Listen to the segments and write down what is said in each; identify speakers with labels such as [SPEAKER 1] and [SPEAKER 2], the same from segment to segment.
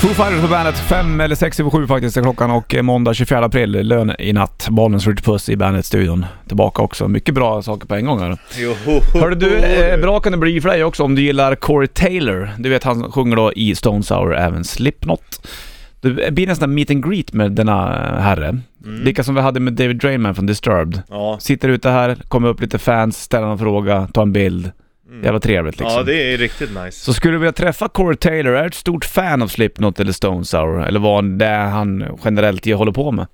[SPEAKER 1] Foo Fighters på bandet, fem eller sex över sju faktiskt är klockan och eh, måndag 24 april, lön i natt. Bollnäs Ritch Puss i bandet-studion. Tillbaka också. Mycket bra saker på en gång här. Hörru du, eh, bra kan det bli för dig också om du gillar Corey Taylor. Du vet han sjunger då i Stone Sour, även Slipknot. Det blir nästan meet and greet med denna eh, herre.
[SPEAKER 2] Mm.
[SPEAKER 1] Lika som vi hade med David Drainman från Disturbed.
[SPEAKER 2] Ja.
[SPEAKER 1] Sitter ute här, kommer upp lite fans, ställer någon fråga, tar en bild. Jävla trevligt liksom.
[SPEAKER 2] Mm. ja, det är riktigt nice.
[SPEAKER 1] Så skulle du vilja träffa Corey Taylor, är du ett stort fan av Slipknot eller Stone Sour, eller vad det är han generellt håller på med?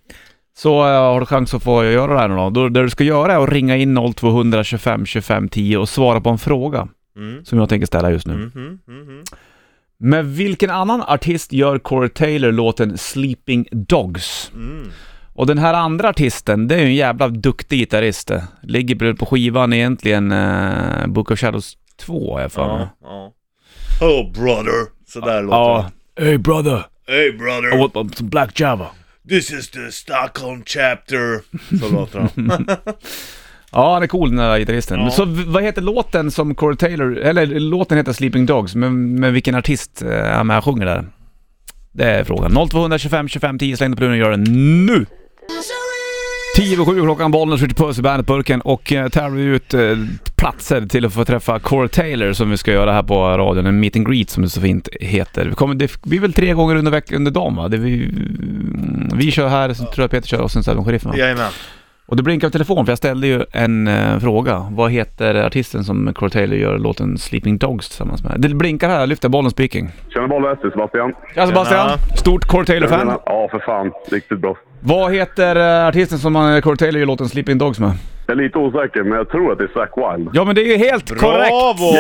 [SPEAKER 1] Så eh, har du chans att få göra det här nu då. då. Det du ska göra är att ringa in 0200 25 25 10 och svara på en fråga
[SPEAKER 2] Mm.
[SPEAKER 1] som jag tänker ställa just nu.
[SPEAKER 2] Mhm, mhm.
[SPEAKER 1] Med vilken annan artist gör Corey Taylor låten Sleeping Dogs?
[SPEAKER 2] Mm.
[SPEAKER 1] Och den här andra artisten, det är ju en jävla duktig gitarrist det. Ligger på skivan egentligen, eh, Book of Shadows 2 är jag för mig.
[SPEAKER 2] Ja, ja. Oh brother. Sådär låter
[SPEAKER 1] Ja. Hey brother,
[SPEAKER 2] det. Hey brother.
[SPEAKER 1] I want some black java.
[SPEAKER 2] This is the Stockholm chapter. Så låter han.
[SPEAKER 1] Ja, han är cool den där gitarristen.
[SPEAKER 2] Ja.
[SPEAKER 1] Men Så v- vad heter låten som Corey Taylor, eller låten heter Sleeping Dogs, men med vilken artist eh, han med sjunger där? Det är frågan. 0225 25 10, släng dig på luren och gör det nu! 10 över 7 klockan, bollen skjuter puss i bandetburken och eh, tävlar vi ut eh, platser till att få träffa Corey Taylor som vi ska göra här på radion. En meet and greet som det så fint heter. Vi kommer, det blir väl tre gånger under, veck- under dagen va? Det vi, mm, vi kör här, sen tror jag Peter kör och sen så även sheriffen va?
[SPEAKER 2] Jajamän.
[SPEAKER 1] Och det blinkar på telefon för jag ställde ju en eh, fråga. Vad heter artisten som Corey Taylor gör låten Sleeping Dogs tillsammans med? Det blinkar här, jag lyfter bollen speaking.
[SPEAKER 3] Tjena Bollnäs, det är Sebastian.
[SPEAKER 1] Tja Sebastian! Stort Corey Taylor-fan.
[SPEAKER 3] Ja, för fan. Riktigt bra.
[SPEAKER 1] Vad heter eh, artisten som eh, Corey Taylor gör låten Sleeping Dogs med?
[SPEAKER 3] Jag är lite osäker, men jag tror att det är Zack Wild.
[SPEAKER 1] Ja men det är ju helt korrekt!
[SPEAKER 2] Bravo!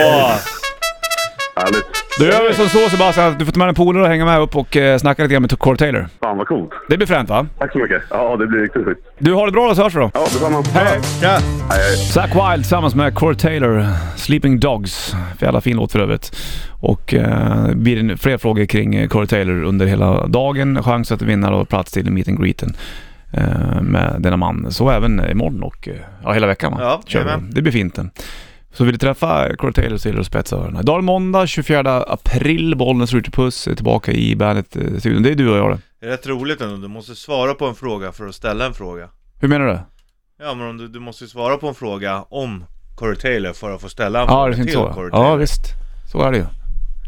[SPEAKER 3] Härligt.
[SPEAKER 1] Då gör vi som så Sebastian, att du får ta med en polare och hänga med upp och eh, snacka lite grann med Corey Taylor.
[SPEAKER 3] Fan vad coolt.
[SPEAKER 1] Det blir fränt va?
[SPEAKER 3] Tack så mycket. Ja, det blir riktigt sjukt.
[SPEAKER 1] Du har det bra då så hörs vi då.
[SPEAKER 3] Ja, detsamma.
[SPEAKER 1] Hej!
[SPEAKER 2] Ja.
[SPEAKER 1] Zack Wild tillsammans med Corey Taylor, Sleeping Dogs. För jävla fin låt för övrigt. Och eh, blir det fler frågor kring eh, Corey Taylor under hela dagen. Chans att vinna då plats till meet and greeten eh, med denna man. Så även imorgon och eh, ja, hela veckan va?
[SPEAKER 2] Ja,
[SPEAKER 1] Kör vi.
[SPEAKER 2] jajamän.
[SPEAKER 1] Det blir fint den. Så vill du träffa Corey Taylor så gäller det att spetsa öronen. Idag är det måndag 24 april. Bollnäs Ritchie-puss är tillbaka i Bandet-studion. Det är du och jag det.
[SPEAKER 2] Det är rätt roligt ändå, du måste svara på en fråga för att ställa en fråga.
[SPEAKER 1] Hur menar du?
[SPEAKER 2] Ja men om du, du måste ju svara på en fråga om Corey Taylor för att få ställa en
[SPEAKER 1] Ja, det
[SPEAKER 2] fråga
[SPEAKER 1] finns
[SPEAKER 2] till
[SPEAKER 1] så.
[SPEAKER 2] Corey
[SPEAKER 1] Ja,
[SPEAKER 2] Taylor.
[SPEAKER 1] visst. Så är det ju.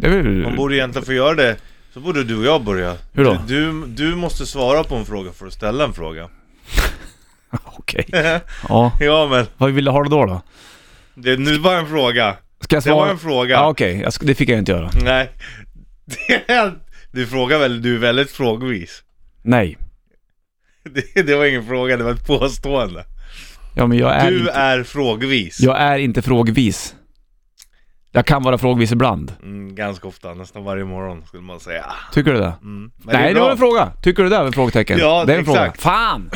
[SPEAKER 1] Det är väl...
[SPEAKER 2] Man borde egentligen få göra det, så borde du och jag börja.
[SPEAKER 1] Hur då?
[SPEAKER 2] Du, du, du måste svara på en fråga för att ställa en fråga.
[SPEAKER 1] Okej. Ja.
[SPEAKER 2] Ja men,
[SPEAKER 1] Vad vill du ha det då? då?
[SPEAKER 2] det, nu var en fråga.
[SPEAKER 1] Ska jag
[SPEAKER 2] Det
[SPEAKER 1] svara?
[SPEAKER 2] var en fråga.
[SPEAKER 1] Ja, okej. Jag sk- Det fick jag inte göra.
[SPEAKER 2] Nej. Det är- Du frågar väl, du är väldigt frågvis.
[SPEAKER 1] Nej.
[SPEAKER 2] Det, det var ingen fråga, det var ett påstående.
[SPEAKER 1] Ja, men jag är,
[SPEAKER 2] Du
[SPEAKER 1] inte,
[SPEAKER 2] är frågvis.
[SPEAKER 1] jag är inte frågvis. Jag kan vara frågvis ibland.
[SPEAKER 2] Mm, ganska ofta, nästan varje morgon skulle man säga.
[SPEAKER 1] Tycker du det?
[SPEAKER 2] Mm. Men
[SPEAKER 1] Nej, det,
[SPEAKER 2] är bra.
[SPEAKER 1] var en fråga. Tycker du det är ett frågetecken?
[SPEAKER 2] Ja,
[SPEAKER 1] det är en
[SPEAKER 2] exakt.
[SPEAKER 1] fråga. Fan!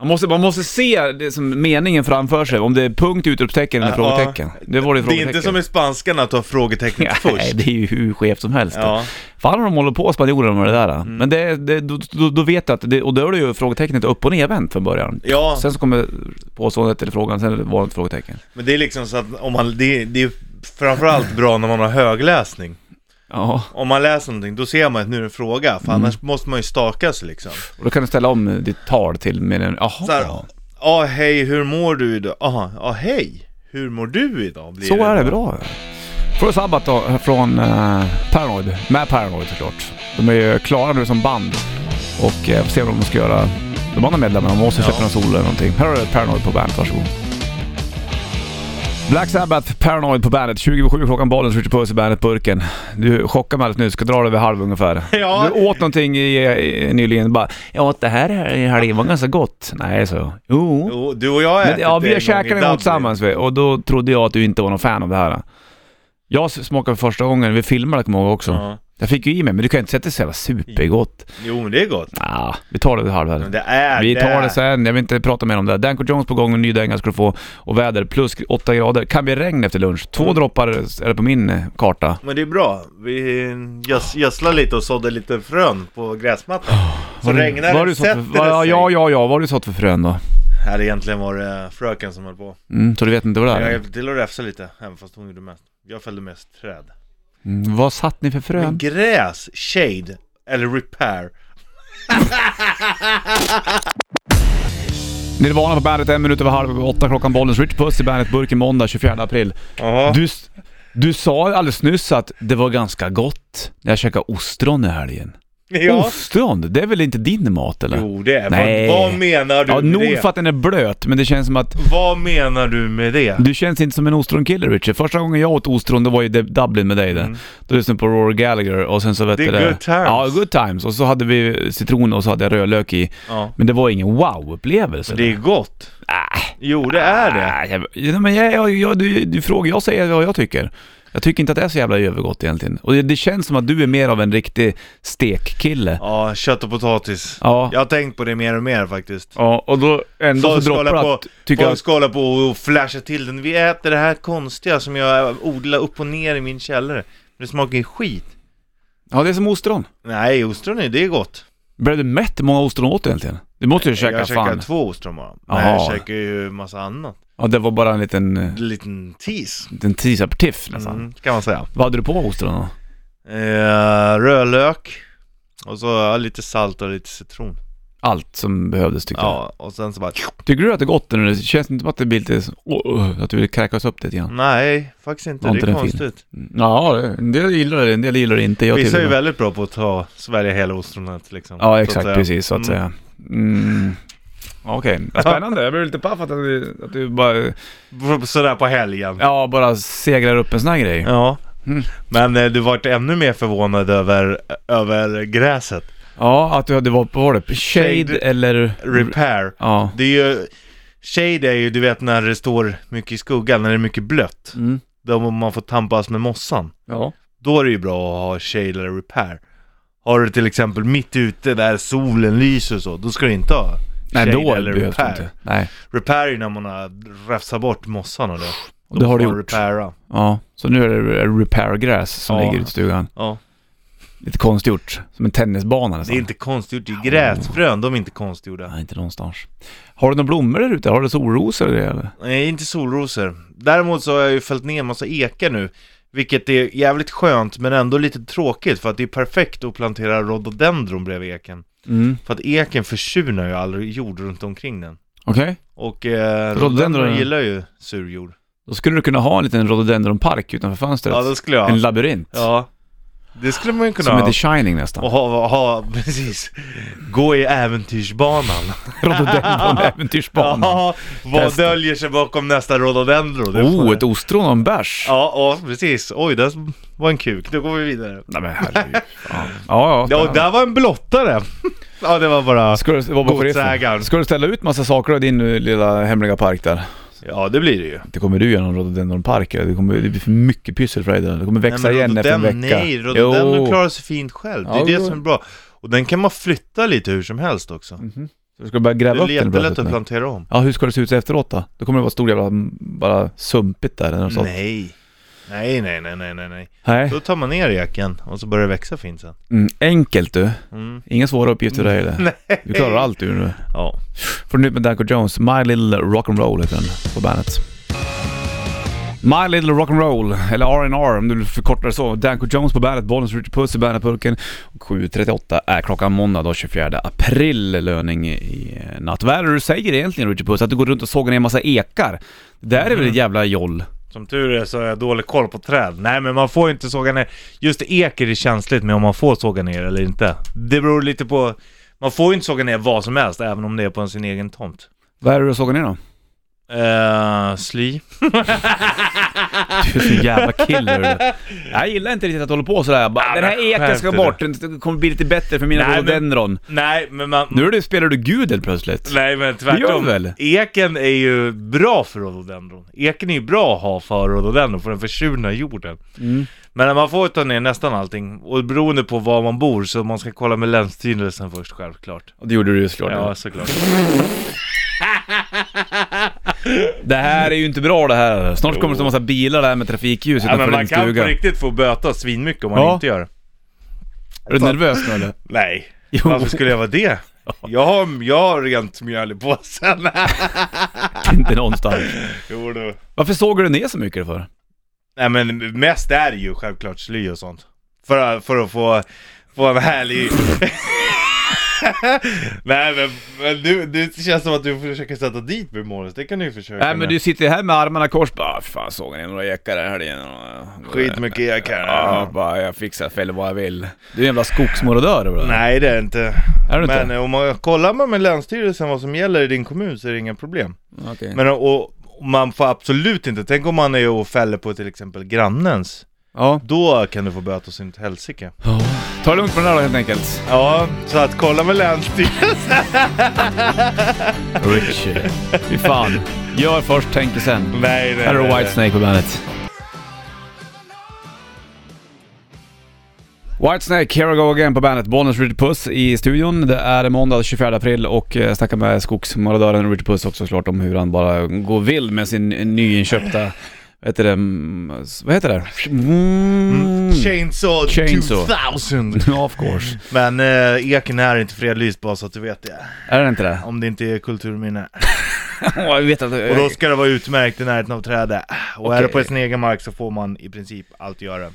[SPEAKER 1] Man måste, man måste se det som meningen framför sig, om det är punkt, utropstecken eller
[SPEAKER 2] Ja,
[SPEAKER 1] frågetecken. Det var det
[SPEAKER 2] Det är
[SPEAKER 1] frågetecken.
[SPEAKER 2] inte som i spanskan att ta frågetecknet
[SPEAKER 1] Nej,
[SPEAKER 2] först.
[SPEAKER 1] det är ju hur skevt som helst.
[SPEAKER 2] Ja. Mm.
[SPEAKER 1] Fan vad de håller på spanjorerna med det där. Men det, det, då, då, då vet jag att, det, och då är det ju frågetecknet upp och nervänt från början.
[SPEAKER 2] Ja,
[SPEAKER 1] Sen så kommer påståendet eller frågan, sen är det vanligt frågetecken.
[SPEAKER 2] men det är liksom så att om man, det, det är framförallt bra när man har högläsning.
[SPEAKER 1] Ja,
[SPEAKER 2] Om man läser någonting, då ser man att nu är det en fråga, för
[SPEAKER 1] Mm.
[SPEAKER 2] annars måste man ju stakas liksom.
[SPEAKER 1] och då kan du ställa om eh, ditt tal till mer än, jaha.
[SPEAKER 2] Så här,
[SPEAKER 1] ja.
[SPEAKER 2] Ja, hej, hur mår du idag? Aha, ja, hej, hur mår du idag? Blir
[SPEAKER 1] Så är det
[SPEAKER 2] då.
[SPEAKER 1] bra. Får Sabbat då, från eh, Paranoid, med Paranoid såklart. De är ju klara nu som band och eh, får se vad de ska göra. De andra medlemmarna, de måste släppa
[SPEAKER 2] Ja.
[SPEAKER 1] någon solo eller någonting. Här har du Paranoid på bandet, varsågod. Black Sabbath, Paranoid på bandet. 27 klockan, bollen skjuter på sig bandet-burken. Du chockade mig alldeles nu, ska dra det vid halv ungefär.
[SPEAKER 2] Ja.
[SPEAKER 1] Du åt någonting i, i, nyligen, bara jag åt det här i helgen, var ganska gott. Nej, så. Jo.
[SPEAKER 2] Jo, du och jag har
[SPEAKER 1] Men,
[SPEAKER 2] ätit
[SPEAKER 1] ja, vi
[SPEAKER 2] en
[SPEAKER 1] har
[SPEAKER 2] gång i
[SPEAKER 1] käkat en gång
[SPEAKER 2] Dublin.
[SPEAKER 1] tillsammans vi, och då trodde jag att du inte var någon fan av det här. Jag s- smakade för första gången, vi filmade kommer jag ihåg också.
[SPEAKER 2] Ja.
[SPEAKER 1] Jag fick ju i mig, men du kan ju inte säga att det är så jävla supergott.
[SPEAKER 2] Jo, men det är gott.
[SPEAKER 1] Ah, vi tar det vid halv
[SPEAKER 2] Men
[SPEAKER 1] här.
[SPEAKER 2] det är
[SPEAKER 1] Vi tar det
[SPEAKER 2] är.
[SPEAKER 1] sen, jag vill inte prata mer om det. Danko Jones på gång, en ny dänga ska du få. Och väder plus 8 grader. Kan bli regn efter lunch.
[SPEAKER 2] Mm.
[SPEAKER 1] Två droppar är det på min eh, karta.
[SPEAKER 2] Men det är bra. Vi gös- gödslar lite och sådde lite frön på gräsmattan. Så regnar
[SPEAKER 1] Vad har
[SPEAKER 2] det,
[SPEAKER 1] du sått för,
[SPEAKER 2] sätter
[SPEAKER 1] vad, ja,
[SPEAKER 2] det sig.
[SPEAKER 1] ja, ja, vad har du sått för frön då?
[SPEAKER 2] Här egentligen var det fröken som höll på.
[SPEAKER 1] Mm, så du vet inte vad det
[SPEAKER 2] Jag
[SPEAKER 1] är?
[SPEAKER 2] hjälpte till att räfsa lite, även fast hon gjorde mest. Jag fällde mest träd.
[SPEAKER 1] Mm, vad satt ni för
[SPEAKER 2] Men
[SPEAKER 1] frön?
[SPEAKER 2] gräs, shade, Eller repair.
[SPEAKER 1] Nirvana på bandet en minut över halv åtta klockan. Bollens Rich Puss i Bandet-burken måndag 24 april.
[SPEAKER 2] Jaha.
[SPEAKER 1] Du, s- du sa alldeles nyss att det var ganska gott när jag käkade ostron i helgen. Oh,
[SPEAKER 2] Ja.
[SPEAKER 1] Ostron? Det är väl inte din mat eller?
[SPEAKER 2] Jo det är.
[SPEAKER 1] Nej.
[SPEAKER 2] Vad, vad menar du
[SPEAKER 1] Ja,
[SPEAKER 2] med
[SPEAKER 1] nog
[SPEAKER 2] det?
[SPEAKER 1] för att den är blöt, men det känns som att
[SPEAKER 2] Vad menar du med det?
[SPEAKER 1] du känns inte som en ostronkille Richard. Första gången jag åt ostron, det var ju Dub- Dublin med dig där. Då lyssnade jag på Rory Gallagher och sen så vet
[SPEAKER 2] Mm. Det är
[SPEAKER 1] du
[SPEAKER 2] good times.
[SPEAKER 1] Ja, good times. Och så hade vi citron och så hade jag rödlök i.
[SPEAKER 2] Ja.
[SPEAKER 1] Men det var ingen wow-upplevelse. Äh.
[SPEAKER 2] Det är gott. Jo det är det.
[SPEAKER 1] Nej, jag, ja, men jag, jag, jag, du, du frågar, jag säger vad jag tycker. Jag tycker inte att det är så jävla övergott egentligen. Och det, det känns som att du är mer av en riktig stekkille.
[SPEAKER 2] Ja, kött och potatis.
[SPEAKER 1] Ja.
[SPEAKER 2] Jag har tänkt på det mer och mer faktiskt.
[SPEAKER 1] Ja, och då ändå så
[SPEAKER 2] Folk ska hålla
[SPEAKER 1] droppar
[SPEAKER 2] på,
[SPEAKER 1] att, tycker jag,
[SPEAKER 2] folk ska hålla på och flasha till den. Vi äter det här konstiga som jag odlar upp och ner i min källare. Det smakar ju skit.
[SPEAKER 1] ja det är som ostron.
[SPEAKER 2] Nej, ostron är det är gott.
[SPEAKER 1] Blev du mätt? Hur många ostron åt egentligen? Du måste ju käka
[SPEAKER 2] jag käkar
[SPEAKER 1] fan.
[SPEAKER 2] två ostron bara.
[SPEAKER 1] Jaha.
[SPEAKER 2] Nej, jag käkar ju massa annat.
[SPEAKER 1] Ja, det var bara en liten, eh,
[SPEAKER 2] En liten tease,
[SPEAKER 1] liten teaser-tiff nästan.
[SPEAKER 2] mm, kan man säga.
[SPEAKER 1] Vad hade du på ostron då?
[SPEAKER 2] Eh, rödlök. Och så ja, lite salt och lite citron.
[SPEAKER 1] Allt som behövdes tyckte du?
[SPEAKER 2] Ja, och sen så bara...
[SPEAKER 1] Tycker du att det är gott nu? Det känns inte som att det blir lite, så- oh, oh, att du vill kräkas upp lite grann?
[SPEAKER 2] Nej, faktiskt inte.
[SPEAKER 1] Var
[SPEAKER 2] Det
[SPEAKER 1] inte
[SPEAKER 2] är
[SPEAKER 1] den fin?
[SPEAKER 2] konstigt.
[SPEAKER 1] Ja, det- en del gillar det, en del gillar det inte. Jag
[SPEAKER 2] Vissa är ju
[SPEAKER 1] tillhör-
[SPEAKER 2] väldigt bra på att ta, svälja hela ostronet liksom. så
[SPEAKER 1] Ja,
[SPEAKER 2] att
[SPEAKER 1] exakt.
[SPEAKER 2] säga.
[SPEAKER 1] precis, så att
[SPEAKER 2] Mm.
[SPEAKER 1] säga. Mm. Okej, spännande. Jag blev lite paff att du, att du bara,
[SPEAKER 2] Mm. Sådär på helgen.
[SPEAKER 1] ja, bara segrar upp en sån här grej.
[SPEAKER 2] Ja.
[SPEAKER 1] Mm.
[SPEAKER 2] Men eh, du vart ännu mer förvånad över, över gräset.
[SPEAKER 1] Ja, att du hade varit på, vad var det, shade,
[SPEAKER 2] Shade.
[SPEAKER 1] eller...
[SPEAKER 2] Repair.
[SPEAKER 1] Ja.
[SPEAKER 2] Det är ju... Shade är ju, du vet när det står mycket i skuggan, när det är mycket blött.
[SPEAKER 1] Mm.
[SPEAKER 2] Då man får tampas med mossan.
[SPEAKER 1] Ja.
[SPEAKER 2] Då är det ju bra att ha shade eller repair. Har du till exempel mitt ute där solen lyser och så, då ska du inte ha
[SPEAKER 1] Nej,
[SPEAKER 2] shade
[SPEAKER 1] då
[SPEAKER 2] eller
[SPEAKER 1] behövs det
[SPEAKER 2] repair.
[SPEAKER 1] inte. Nej.
[SPEAKER 2] Repair är ju när man har rafsat bort mossan och det.
[SPEAKER 1] Och det har
[SPEAKER 2] får
[SPEAKER 1] du
[SPEAKER 2] man
[SPEAKER 1] gjort.
[SPEAKER 2] Repaira.
[SPEAKER 1] Ja, så nu är det repairgräs som
[SPEAKER 2] Ja.
[SPEAKER 1] ligger ute i stugan.
[SPEAKER 2] Ja.
[SPEAKER 1] Lite konstgjort, som en tennisbana
[SPEAKER 2] Det är
[SPEAKER 1] nästan.
[SPEAKER 2] inte konstgjort, det är gräsfrön, de är inte konstgjorda.
[SPEAKER 1] Nej, inte någonstans. Har du några blommor där ute? Har du solrosor eller? det, eller?
[SPEAKER 2] Nej, inte solrosor. Däremot så har jag ju fällt ner en massa ekar nu, vilket är jävligt skönt men ändå lite tråkigt för att det är perfekt att plantera rhododendron bredvid eken.
[SPEAKER 1] Mm.
[SPEAKER 2] För att eken försurnar ju all jord runt omkring den.
[SPEAKER 1] Okej.
[SPEAKER 2] Och eh,
[SPEAKER 1] Rhododendron,
[SPEAKER 2] rhododendron
[SPEAKER 1] ja.
[SPEAKER 2] gillar ju surjord.
[SPEAKER 1] Då skulle du kunna ha en liten rhododendronpark utanför fönstret.
[SPEAKER 2] Ja, då skulle jag.
[SPEAKER 1] En labyrint.
[SPEAKER 2] Ja. Det skulle man ju kunna
[SPEAKER 1] Som är
[SPEAKER 2] ha.
[SPEAKER 1] The Shining nästan.
[SPEAKER 2] Och ha, ha, precis. Gå i äventyrsbanan.
[SPEAKER 1] Rhododendron äventyrsbanan.
[SPEAKER 2] Ja, vad
[SPEAKER 1] Testa.
[SPEAKER 2] döljer sig bakom nästa rhododendro? Det får-
[SPEAKER 1] Oh, ett ostron och en bärs.
[SPEAKER 2] Ja, ja, precis. Oj, det var en kuk. Då går vi vidare.
[SPEAKER 1] Nej men herregud. Ja, ja.
[SPEAKER 2] Ja, och
[SPEAKER 1] spännande.
[SPEAKER 2] där var en blottare. Ja, det var bara...
[SPEAKER 1] Ska du, vad var det för?
[SPEAKER 2] Godsägaren.
[SPEAKER 1] Ska du ställa ut massa saker i din eh, lilla hemliga park där?
[SPEAKER 2] Ja, det blir det ju.
[SPEAKER 1] Det kommer du göra någon rhododendronpark. eller? Det kommer det blir för mycket pyssel för dig. där. Det kommer växa
[SPEAKER 2] men
[SPEAKER 1] igen efter en
[SPEAKER 2] rhododendron-
[SPEAKER 1] vecka.
[SPEAKER 2] Nej, rhododendron
[SPEAKER 1] Jo.
[SPEAKER 2] klarar sig fint själv. Det är
[SPEAKER 1] Ja,
[SPEAKER 2] det
[SPEAKER 1] jo.
[SPEAKER 2] som är bra. Och den kan man flytta lite hur som helst också.
[SPEAKER 1] Så du ska börja
[SPEAKER 2] Det
[SPEAKER 1] gräva
[SPEAKER 2] Mhm. är
[SPEAKER 1] upp den
[SPEAKER 2] jättelätt
[SPEAKER 1] plötsligt
[SPEAKER 2] att
[SPEAKER 1] nu.
[SPEAKER 2] plantera om.
[SPEAKER 1] Ja, hur ska det se ut efteråt då? Då kommer det vara stor jävla, mm, bara sumpigt där eller något sånt.
[SPEAKER 2] Nej. Nej, nej, nej, nej, nej, nej.
[SPEAKER 1] Nej.
[SPEAKER 2] Då tar man ner eken och så börjar det växa fint sen.
[SPEAKER 1] Mm, enkelt du.
[SPEAKER 2] Mm.
[SPEAKER 1] Inga svåra uppgifter där eller?
[SPEAKER 2] Nej.
[SPEAKER 1] Du klarar allt du nu.
[SPEAKER 2] Ja.
[SPEAKER 1] Får nytt med Danko Jones, My Little Rock'n'Roll heter den på bandet. My Little Rock'n'Roll, eller R&R om du vill förkorta det så. Danko Jones på bandet, Bollens Richard Puss i bandetburken. Och 7.38 är klockan måndag då 24 april, löning i eh, natt. Vad är det du säger egentligen Richard Puss? Att du går runt och sågar ner en massa ekar? Det där är
[SPEAKER 2] Mm.
[SPEAKER 1] väl ett jävla joll?
[SPEAKER 2] Som tur är så har jag dålig koll på träd. Nej, men man får ju inte såga ner. Just eker är känsligt med om man får såga ner eller inte. Det beror lite på... Man får ju inte såga ner vad som helst, även om det är på sin egen tomt.
[SPEAKER 1] Vad är det du sågar ner då?
[SPEAKER 2] Eh, sly.
[SPEAKER 1] Du är så jävla killer du. Jag gillar inte riktigt att du håller på sådär. Jag Bara, den här eken ska
[SPEAKER 2] skärp
[SPEAKER 1] bort, den kommer bli lite bättre för mina
[SPEAKER 2] Nej, men-
[SPEAKER 1] rhododendron.
[SPEAKER 2] Nej, men man...
[SPEAKER 1] Nu är det, spelar du gud helt plötsligt.
[SPEAKER 2] Nej, men
[SPEAKER 1] Det gör
[SPEAKER 2] tvärtom.
[SPEAKER 1] du väl?
[SPEAKER 2] Eken är ju bra för rhododendron. Eken är ju bra att ha för rhododendron, för den försurnar jorden.
[SPEAKER 1] Mm.
[SPEAKER 2] Men man får ta ner nästan allting, och beroende på var man bor, så man ska kolla med Länsstyrelsen först, självklart.
[SPEAKER 1] Och det gjorde du ju såklart.
[SPEAKER 2] Ja, såklart.
[SPEAKER 1] Det här är ju inte bra det här. Snart kommer det stå en massa bilar där med trafikljus
[SPEAKER 2] Ja, men
[SPEAKER 1] utanför
[SPEAKER 2] man
[SPEAKER 1] din
[SPEAKER 2] kan
[SPEAKER 1] stuga.
[SPEAKER 2] på riktigt få böta svinmycket om man
[SPEAKER 1] Ja.
[SPEAKER 2] inte gör det.
[SPEAKER 1] Är du nervös nu eller?
[SPEAKER 2] Nej,
[SPEAKER 1] Jo.
[SPEAKER 2] varför skulle jag vara det? Jag har, jag har rent mjöl i påsen.
[SPEAKER 1] inte någonstans.
[SPEAKER 2] jo, du.
[SPEAKER 1] Varför såg du ner så mycket för?
[SPEAKER 2] Nej men mest är det ju självklart sly och sånt. För, att- för att få, på en härlig... Nej men, men du, du, det känns som att du försöker sätta dit mig Måns, det kan du ju försöka
[SPEAKER 1] Nej men du sitter ju här med armarna kors bara, "Ah, fan såg ni några ekar här helgen?
[SPEAKER 2] Skitmycket ek här.
[SPEAKER 1] Ja, bara jag fixar fel vad jag vill. Du är en jävla skogsmorodör bro.
[SPEAKER 2] Nej det är det inte.
[SPEAKER 1] Är du inte?
[SPEAKER 2] men eh, om man kollar man med Länsstyrelsen vad som gäller i din kommun så är det inga problem.
[SPEAKER 1] Okej.
[SPEAKER 2] Men eh, och, och man får absolut inte, tänk om man är och fäller på till exempel grannens.
[SPEAKER 1] Ja.
[SPEAKER 2] Då kan du få böter så in i helsike.
[SPEAKER 1] Ta det lugnt på den här då helt enkelt.
[SPEAKER 2] Ja, så att kolla med Länsstyrelsen.
[SPEAKER 1] Richie. Fy fan. Gör först, tänker sen.
[SPEAKER 2] Nej nej
[SPEAKER 1] Här
[SPEAKER 2] nej,
[SPEAKER 1] är
[SPEAKER 2] nej.
[SPEAKER 1] Whitesnake på bandet. Whitesnake, here I go again på bandet. Bonus Richard Puss i studion. Det är måndag 24 april och eh, jag snackar med skogsmarodören Richard Puss också såklart om hur han bara går vill med sin nyinköpta, vad heter det, Mm, vad heter det? Mm.
[SPEAKER 2] Chainsaw,
[SPEAKER 1] Chainsaw.
[SPEAKER 2] 2000!
[SPEAKER 1] of course.
[SPEAKER 2] Men eh, eken är inte fredlyst bara så att du vet det.
[SPEAKER 1] Är det inte det?
[SPEAKER 2] Om det inte är kulturminne.
[SPEAKER 1] jag vet att...
[SPEAKER 2] Och då ska det vara utmärkt i närheten av trädet. Och är
[SPEAKER 1] Okej.
[SPEAKER 2] det på sin egen mark så får man i princip allt göra.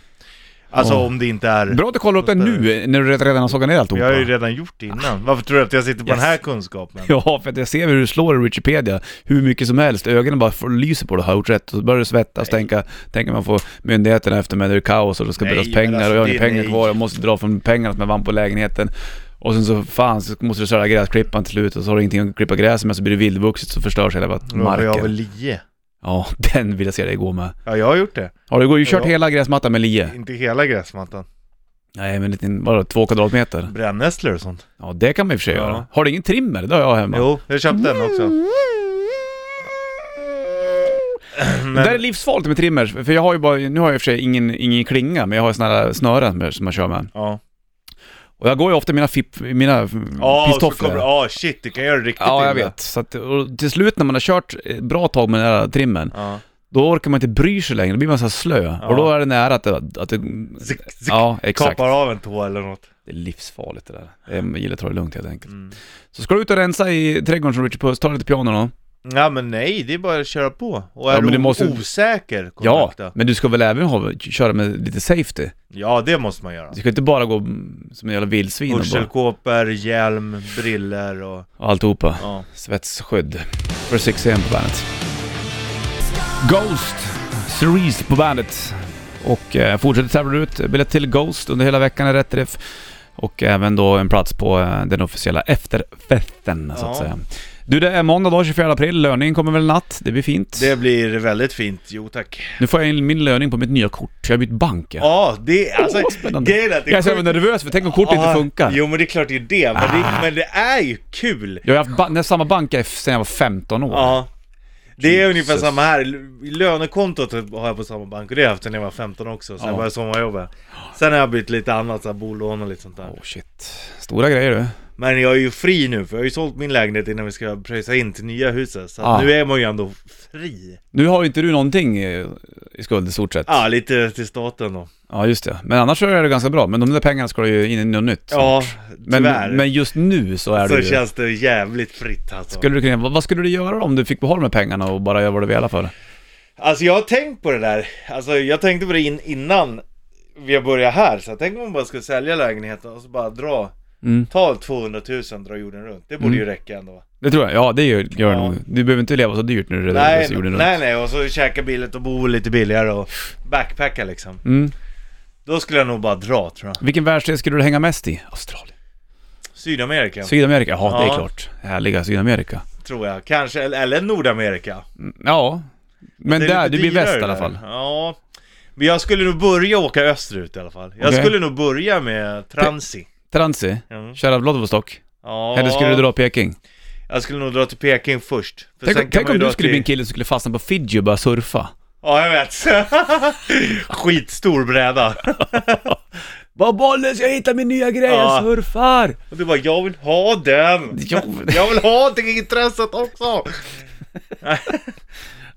[SPEAKER 2] Alltså
[SPEAKER 1] Åh.
[SPEAKER 2] om det inte är...
[SPEAKER 1] Bra att du kollar upp det nu, när du redan har sågat ner alltihopa.
[SPEAKER 2] Jag har ju redan gjort det innan. Varför tror du att jag sitter på
[SPEAKER 1] Yes.
[SPEAKER 2] den här kunskapen?
[SPEAKER 1] Ja, för att jag ser hur du slår i Wikipedia hur mycket som helst. Ögonen bara får- lyser på det. Har jag gjort rätt? Och så börjar du svettas tänka, tänker man får myndigheterna efter mig, det är kaos och det ska
[SPEAKER 2] Nej,
[SPEAKER 1] behövas
[SPEAKER 2] men
[SPEAKER 1] pengar
[SPEAKER 2] alltså,
[SPEAKER 1] och jag har
[SPEAKER 2] det-
[SPEAKER 1] inga pengar
[SPEAKER 2] nej.
[SPEAKER 1] kvar. Jag måste dra från pengarna som jag vann på lägenheten. Och sen så fan så måste du köra gräsklippan till slut och så har du ingenting att klippa gräs med så blir det vildvuxet så förstörs hela
[SPEAKER 2] Nu har jag väl
[SPEAKER 1] marken.
[SPEAKER 2] lie.
[SPEAKER 1] Ja, den vill jag se dig gå med.
[SPEAKER 2] Ja, jag har gjort det.
[SPEAKER 1] Har du ju kört
[SPEAKER 2] Ja.
[SPEAKER 1] hela gräsmattan med lie?
[SPEAKER 2] Inte hela gräsmattan.
[SPEAKER 1] Nej, men lite, bara två kvadratmeter.
[SPEAKER 2] Brännässlor och sånt.
[SPEAKER 1] Ja, det kan man i och för sig
[SPEAKER 2] Ja.
[SPEAKER 1] göra. Har du ingen trimmer? Det har jag hemma.
[SPEAKER 2] Jo, jag köpte den också.
[SPEAKER 1] Mm. Det där är livsfarligt med trimmers, för jag har ju bara, nu har jag i och för sig ingen, ingen klinga, men jag har ju såna där snören med- som man kör med.
[SPEAKER 2] Ja.
[SPEAKER 1] Och jag går ju ofta i mina fipp, i mina
[SPEAKER 2] Ja, och så
[SPEAKER 1] pistofflor.
[SPEAKER 2] kommer Ja, shit, du kan göra det riktigt
[SPEAKER 1] ja, jag
[SPEAKER 2] illa.
[SPEAKER 1] vet. Så att, och till slut när man har kört ett bra tag med den där trimmen,
[SPEAKER 2] Ja.
[SPEAKER 1] då orkar man inte bry sig längre, då blir man så här slö. Och då är det nära att det, att det
[SPEAKER 2] Zick, zick.
[SPEAKER 1] Ja, exakt.
[SPEAKER 2] Kapar av en tå eller något.
[SPEAKER 1] Det är livsfarligt det där. Jag gillar att ta det lugnt helt enkelt.
[SPEAKER 2] Mm.
[SPEAKER 1] Så ska du ut och rensa i trädgården som Richard Puss, ta lite piano då.
[SPEAKER 2] Ja men nej, det är bara att köra på. Och
[SPEAKER 1] Ja,
[SPEAKER 2] är
[SPEAKER 1] men
[SPEAKER 2] du
[SPEAKER 1] det måste-
[SPEAKER 2] osäker,
[SPEAKER 1] Ja,
[SPEAKER 2] kontakta. Ja.
[SPEAKER 1] men du ska väl även ha, köra med lite safety?
[SPEAKER 2] ja, det måste man göra.
[SPEAKER 1] Du ska inte bara gå mm, som en jävla vildsvin och, bara,
[SPEAKER 2] Hörselkåpor, hjälm, briller och...
[SPEAKER 1] och alltihopa.
[SPEAKER 2] Ja.
[SPEAKER 1] Svetsskydd. För 6 AM på bandet. Ghost, Cerise på bandet. Och eh, fortsätter tävla ut biljett till Ghost under hela veckan i rätt riff. Och även då en plats på eh, den officiella efterfesten så att
[SPEAKER 2] Ja.
[SPEAKER 1] säga. Du det är måndag då, 24 april, löningen kommer väl natt, det blir fint.
[SPEAKER 2] Det blir väldigt fint, jo tack.
[SPEAKER 1] Nu får jag in min löning på mitt nya kort, jag har bytt bank. Ja.
[SPEAKER 2] Ja, det är alltså...
[SPEAKER 1] Åh, spännande.
[SPEAKER 2] grejen är att det
[SPEAKER 1] Jag är så
[SPEAKER 2] sjukt-
[SPEAKER 1] jävla nervös för tänk om kortet
[SPEAKER 2] Ja,
[SPEAKER 1] inte funkar. Ah.
[SPEAKER 2] Jo men det är klart det är det, men det, men det är ju kul.
[SPEAKER 1] Jag har haft ba- nä- samma bank sedan jag var 15 år.
[SPEAKER 2] Ja. Det är ungefär
[SPEAKER 1] Jesus.
[SPEAKER 2] samma här, L- lönekontot har jag på samma bank och det har jag haft sedan jag var 15 också, sen
[SPEAKER 1] Ja.
[SPEAKER 2] jag började sommarjobba. Sen har jag bytt lite annat, så här, bolån och lite sånt där.
[SPEAKER 1] Oh shit. Stora grejer du.
[SPEAKER 2] Men jag är ju fri nu för jag har ju sålt min lägenhet innan vi ska pröjsa in till nya huset Så att
[SPEAKER 1] Ah.
[SPEAKER 2] nu är man ju ändå fri
[SPEAKER 1] Nu har ju inte du någonting eh, i skuld i stort sett.
[SPEAKER 2] Ja, lite till staten då
[SPEAKER 1] Ja, just det. Men annars så är det ganska bra. Men de där pengarna ska ju in i något nytt.
[SPEAKER 2] Ja,
[SPEAKER 1] men,
[SPEAKER 2] tyvärr
[SPEAKER 1] men just nu så är
[SPEAKER 2] Så
[SPEAKER 1] det ju...
[SPEAKER 2] känns det jävligt fritt alltså
[SPEAKER 1] Skulle du kunna, vad vad skulle du göra om du fick behålla de här pengarna och bara göra vad du vill för?
[SPEAKER 2] Alltså jag har tänkt på det där Alltså jag tänkte på det in, innan vi började här Så jag tänkte om man bara skulle sälja lägenheten och så bara dra
[SPEAKER 1] Mm.
[SPEAKER 2] Ta 200 000, dra jorden runt Det borde
[SPEAKER 1] Mm.
[SPEAKER 2] ju räcka ändå
[SPEAKER 1] Det tror jag. Ja, det gör gör det
[SPEAKER 2] Ja.
[SPEAKER 1] nog. Du behöver inte leva så dyrt när du redan
[SPEAKER 2] Nej,
[SPEAKER 1] så jorden
[SPEAKER 2] nej, nej, och så käka billigt och bo lite billigare och backpacka liksom
[SPEAKER 1] Mm.
[SPEAKER 2] Då skulle jag nog bara dra tror jag
[SPEAKER 1] Vilken världsdel skulle du hänga mest i? Australien.
[SPEAKER 2] Sydamerika
[SPEAKER 1] Sydamerika? Jaha, det är
[SPEAKER 2] Ja.
[SPEAKER 1] klart. Härliga Sydamerika.
[SPEAKER 2] Tror jag, kanske, eller, eller Nordamerika
[SPEAKER 1] Mm, Ja. Men
[SPEAKER 2] Det är
[SPEAKER 1] där,
[SPEAKER 2] lite
[SPEAKER 1] det blir
[SPEAKER 2] dyrare
[SPEAKER 1] väst i
[SPEAKER 2] där.
[SPEAKER 1] alla fall.
[SPEAKER 2] Ja Men jag skulle nog börja åka österut i alla fall Jag
[SPEAKER 1] Okej.
[SPEAKER 2] skulle nog börja med transi
[SPEAKER 1] Transi?
[SPEAKER 2] Mm.
[SPEAKER 1] Köra Vladivostok?
[SPEAKER 2] Ja,
[SPEAKER 1] Eller skulle du dra Peking?
[SPEAKER 2] Jag skulle nog dra till Peking först För sen
[SPEAKER 1] Tänk,
[SPEAKER 2] kan
[SPEAKER 1] tänk
[SPEAKER 2] man
[SPEAKER 1] om
[SPEAKER 2] ju
[SPEAKER 1] du
[SPEAKER 2] dra
[SPEAKER 1] skulle bli en
[SPEAKER 2] till...
[SPEAKER 1] kille som skulle fastna på Fiji och börja surfa.
[SPEAKER 2] Ja, jag vet Skitstor bräda
[SPEAKER 1] Vad bollen ska jag hitta min nya grej?
[SPEAKER 2] Ja.
[SPEAKER 1] Jag surfar!
[SPEAKER 2] Och du bara, jag vill ha den!
[SPEAKER 1] Ja.
[SPEAKER 2] Jag vill ha det intresset också!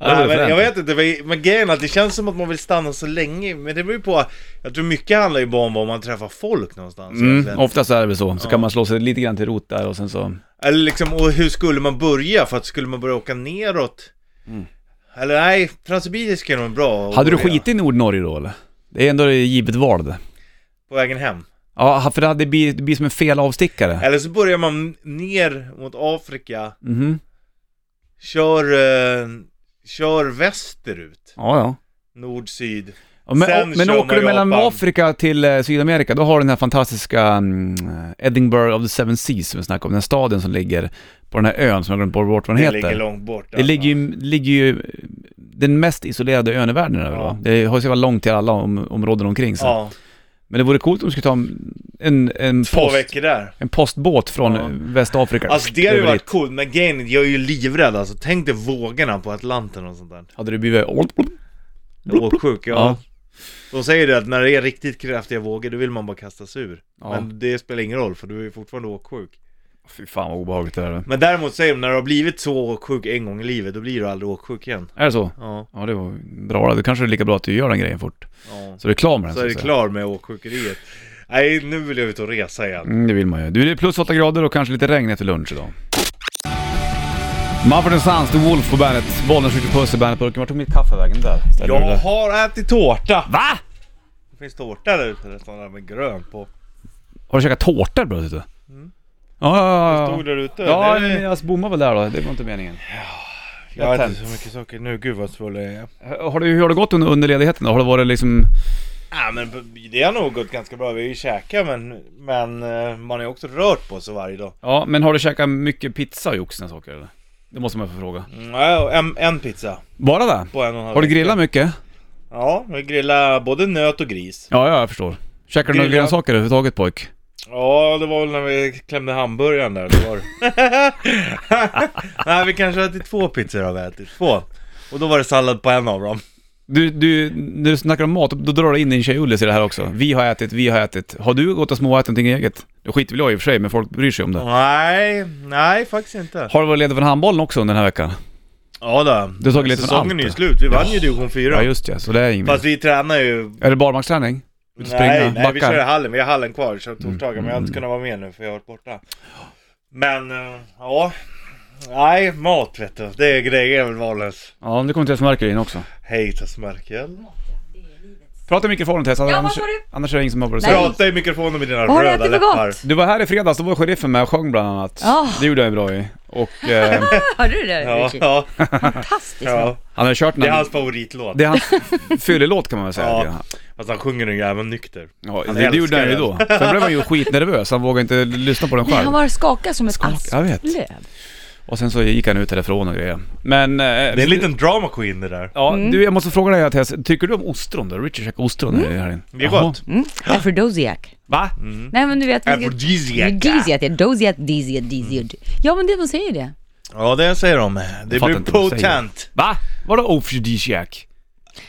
[SPEAKER 2] Nej, men jag vet inte, men- men grejen är att det känns som att man vill stanna så länge Men det beror ju på Jag tror mycket handlar ju bara om var man träffar folk någonstans
[SPEAKER 1] Mm,
[SPEAKER 2] egentligen.
[SPEAKER 1] oftast är det väl så. Så kan man slå sig lite grann till rot där och sen så...
[SPEAKER 2] Eller liksom, och hur skulle man börja? För att skulle man börja åka neråt? Eller nej, Transsibiriska är nog bra att
[SPEAKER 1] Mm. Hade du
[SPEAKER 2] börja.
[SPEAKER 1] skitit i Nordnorge då eller? Det är ändå ett givet val det.
[SPEAKER 2] På vägen hem?
[SPEAKER 1] Ja, för det hade blivit, det blir som en fel avstickare.
[SPEAKER 2] Eller så börjar man ner mot Afrika,
[SPEAKER 1] Mhm.
[SPEAKER 2] kör, eh, kör västerut,
[SPEAKER 1] Ja, ja.
[SPEAKER 2] nord, syd.
[SPEAKER 1] Och Men,
[SPEAKER 2] Sen
[SPEAKER 1] och, men
[SPEAKER 2] kör
[SPEAKER 1] åker du
[SPEAKER 2] man
[SPEAKER 1] mellan
[SPEAKER 2] Japan.
[SPEAKER 1] Afrika till eh, Sydamerika, då har du den här fantastiska mm, Edinburgh of the Seven Seas som vi snackade om. Den staden som ligger på den här ön som jag glömt bort vad den
[SPEAKER 2] Det
[SPEAKER 1] heter.
[SPEAKER 2] ligger långt bort.
[SPEAKER 1] det ligger ju, ligger ju den mest isolerade ön i världen över,
[SPEAKER 2] Ja.
[SPEAKER 1] va? Det har ju så jävla långt till alla om, områden omkring sig.
[SPEAKER 2] Ja,
[SPEAKER 1] Men det vore coolt om du skulle ta en, en, en,
[SPEAKER 2] två
[SPEAKER 1] post,
[SPEAKER 2] veckor där.
[SPEAKER 1] en postbåt från
[SPEAKER 2] Ja.
[SPEAKER 1] Västafrika.
[SPEAKER 2] Alltså det hade ju
[SPEAKER 1] Över
[SPEAKER 2] varit
[SPEAKER 1] dit.
[SPEAKER 2] coolt, men grejen är att jag är ju livrädd alltså. Tänk dig vågorna på Atlanten och sånt där.
[SPEAKER 1] Hade du blivit...
[SPEAKER 2] Åksjuk, ja.
[SPEAKER 1] Ja.
[SPEAKER 2] De säger det att när det är riktigt kraftiga vågor, då vill man bara kasta sig ur.
[SPEAKER 1] Ja.
[SPEAKER 2] Men det spelar ingen roll, för du är ju fortfarande åksjuk.
[SPEAKER 1] Fy fan vad obehagligt det där är.
[SPEAKER 2] Men däremot säger de, när du har blivit så åksjuk en gång i livet, då blir du aldrig åksjuk igen.
[SPEAKER 1] Är det så?
[SPEAKER 2] Ja,
[SPEAKER 1] Ja, det var bra. Det kanske är lika bra att du gör den grejen fort.
[SPEAKER 2] ja.
[SPEAKER 1] Så du är klar med den.
[SPEAKER 2] Så är det
[SPEAKER 1] att säga.
[SPEAKER 2] klar med åksjukeriet. Nej, nu vill jag ut och resa igen.
[SPEAKER 1] Mm, det vill man ju. Du, det är plus 8 grader och kanske lite regn efter lunch idag. Mumford Sons, The Wolf på bandet. Bollnäs skjuter puss i bandetburken. Vart tog mitt kaffe vägen där? Ställer du
[SPEAKER 2] Jag
[SPEAKER 1] det?
[SPEAKER 2] har ätit tårta!
[SPEAKER 1] Va?
[SPEAKER 2] Det finns tårta där ute, det står där med grön på.
[SPEAKER 1] Har du käkat tårta plötsligt du? Ja, ja, ja,
[SPEAKER 2] Stod
[SPEAKER 1] ja.
[SPEAKER 2] där ute.
[SPEAKER 1] Ja,
[SPEAKER 2] det-
[SPEAKER 1] men jag bommade väl där då. Det var inte meningen.
[SPEAKER 2] jag har
[SPEAKER 1] tänt.
[SPEAKER 2] inte så mycket socker nu, gud vad full jag är.
[SPEAKER 1] Har du, hur har det gått under, under ledigheten då? Har det varit liksom...
[SPEAKER 2] Ja men det har nog gått ganska bra, vi har ju käkat men, men eh, man har ju också rört på sig varje dag.
[SPEAKER 1] Ja, men har du käkat mycket pizza och oxen saker eller? Det måste man få fråga.
[SPEAKER 2] Mm, ja, och en, en pizza
[SPEAKER 1] Bara det?
[SPEAKER 2] på en och en halv
[SPEAKER 1] Har du
[SPEAKER 2] vecka.
[SPEAKER 1] grillat mycket?
[SPEAKER 2] Ja, vi grillade både nöt och gris.
[SPEAKER 1] Ja, ja, jag förstår. Käkar du några
[SPEAKER 2] Grilla.
[SPEAKER 1] grönsaker överhuvudtaget pojk?
[SPEAKER 2] Ja, det var väl när vi klämde hamburgaren där, det var det. Nej, vi kanske har ätit två pizzor har vi ätit, två. Och då var det sallad på en av dem.
[SPEAKER 1] Du, du, när du snackar om mat, då drar du in din tjej Ullis i det här också. Vi har ätit, vi har ätit. Har du gått och småätit någonting eget? Det skiter väl jag i och för sig, men folk bryr sig om det.
[SPEAKER 2] Nej, nej faktiskt inte.
[SPEAKER 1] Har du varit ledig från handbollen också under den här veckan?
[SPEAKER 2] Ja då.
[SPEAKER 1] Du har tagit lite från allt,
[SPEAKER 2] Säsongen är ju
[SPEAKER 1] då.
[SPEAKER 2] slut, vi vann ju division
[SPEAKER 1] Ja
[SPEAKER 2] 4.
[SPEAKER 1] just ja, så det är inget
[SPEAKER 2] Fast vi tränar ju
[SPEAKER 1] Är det barmarksträning? Ut och
[SPEAKER 2] Nej, nej vi
[SPEAKER 1] backar?
[SPEAKER 2] kör i hallen, vi har hallen kvar, vi kör torsdagar men jag har inte kunnat vara med nu för jag har varit borta Men, eh, ja Nej, mat vet du, det är grejer väl Valens
[SPEAKER 1] Ja, men det kommer Tess Merkel in också.
[SPEAKER 2] Hej Tess Merkel
[SPEAKER 1] Prata i mikrofonen Tess, annars,
[SPEAKER 4] Ja, vad sa du?
[SPEAKER 1] annars är det ingen som hör vad du
[SPEAKER 4] Nej.
[SPEAKER 1] säger.
[SPEAKER 2] Prata i mikrofonen med dina
[SPEAKER 4] Vad har du
[SPEAKER 2] röda
[SPEAKER 4] ätit för
[SPEAKER 2] läppar
[SPEAKER 4] gott?
[SPEAKER 1] Du var här i fredags, då var sheriffen med och sjöng bland annat.
[SPEAKER 4] Ah.
[SPEAKER 1] Det gjorde jag bra i. Och eh,
[SPEAKER 4] Hörde du det
[SPEAKER 2] Ja,
[SPEAKER 4] Ricky?
[SPEAKER 2] ja,
[SPEAKER 4] Fantastiskt bra.
[SPEAKER 2] ja,
[SPEAKER 1] han har kört den
[SPEAKER 2] det är
[SPEAKER 1] här-
[SPEAKER 2] hans favoritlåt
[SPEAKER 1] Det är hans fyllelåt kan man väl säga.
[SPEAKER 2] Ja.
[SPEAKER 1] lite grann.
[SPEAKER 2] Fast han sjunger den jäveln nykter
[SPEAKER 1] Ja,
[SPEAKER 2] Han
[SPEAKER 1] det, det gjorde han ju
[SPEAKER 2] älskar
[SPEAKER 1] då. Sen blev han ju skitnervös, han vågade inte lyssna på den
[SPEAKER 4] Nej, han
[SPEAKER 1] själv.
[SPEAKER 4] var skakad som ett
[SPEAKER 1] Skak- jag vet.
[SPEAKER 4] asplöv.
[SPEAKER 1] Och sen så gick han ut därifrån och grejer. Men... Eh,
[SPEAKER 2] Det är en liten drama queen det där
[SPEAKER 1] Ja, du jag måste fråga dig Tess, tycker du om ostron då? Richard käkar ostron mm. här inne.
[SPEAKER 2] Det är gott Mm.
[SPEAKER 4] Mm. Aphrodisiac.
[SPEAKER 1] Va?
[SPEAKER 4] Nej men du vet...
[SPEAKER 2] Aphrodisiac
[SPEAKER 4] Disiat, ja. Dosiat, disiat, disiat. Ja men det, man säger det.
[SPEAKER 2] Ja det säger de, det
[SPEAKER 1] fattar
[SPEAKER 2] blir
[SPEAKER 1] inte vad de säger.
[SPEAKER 2] potent
[SPEAKER 1] Va? Vadå afrodisiac?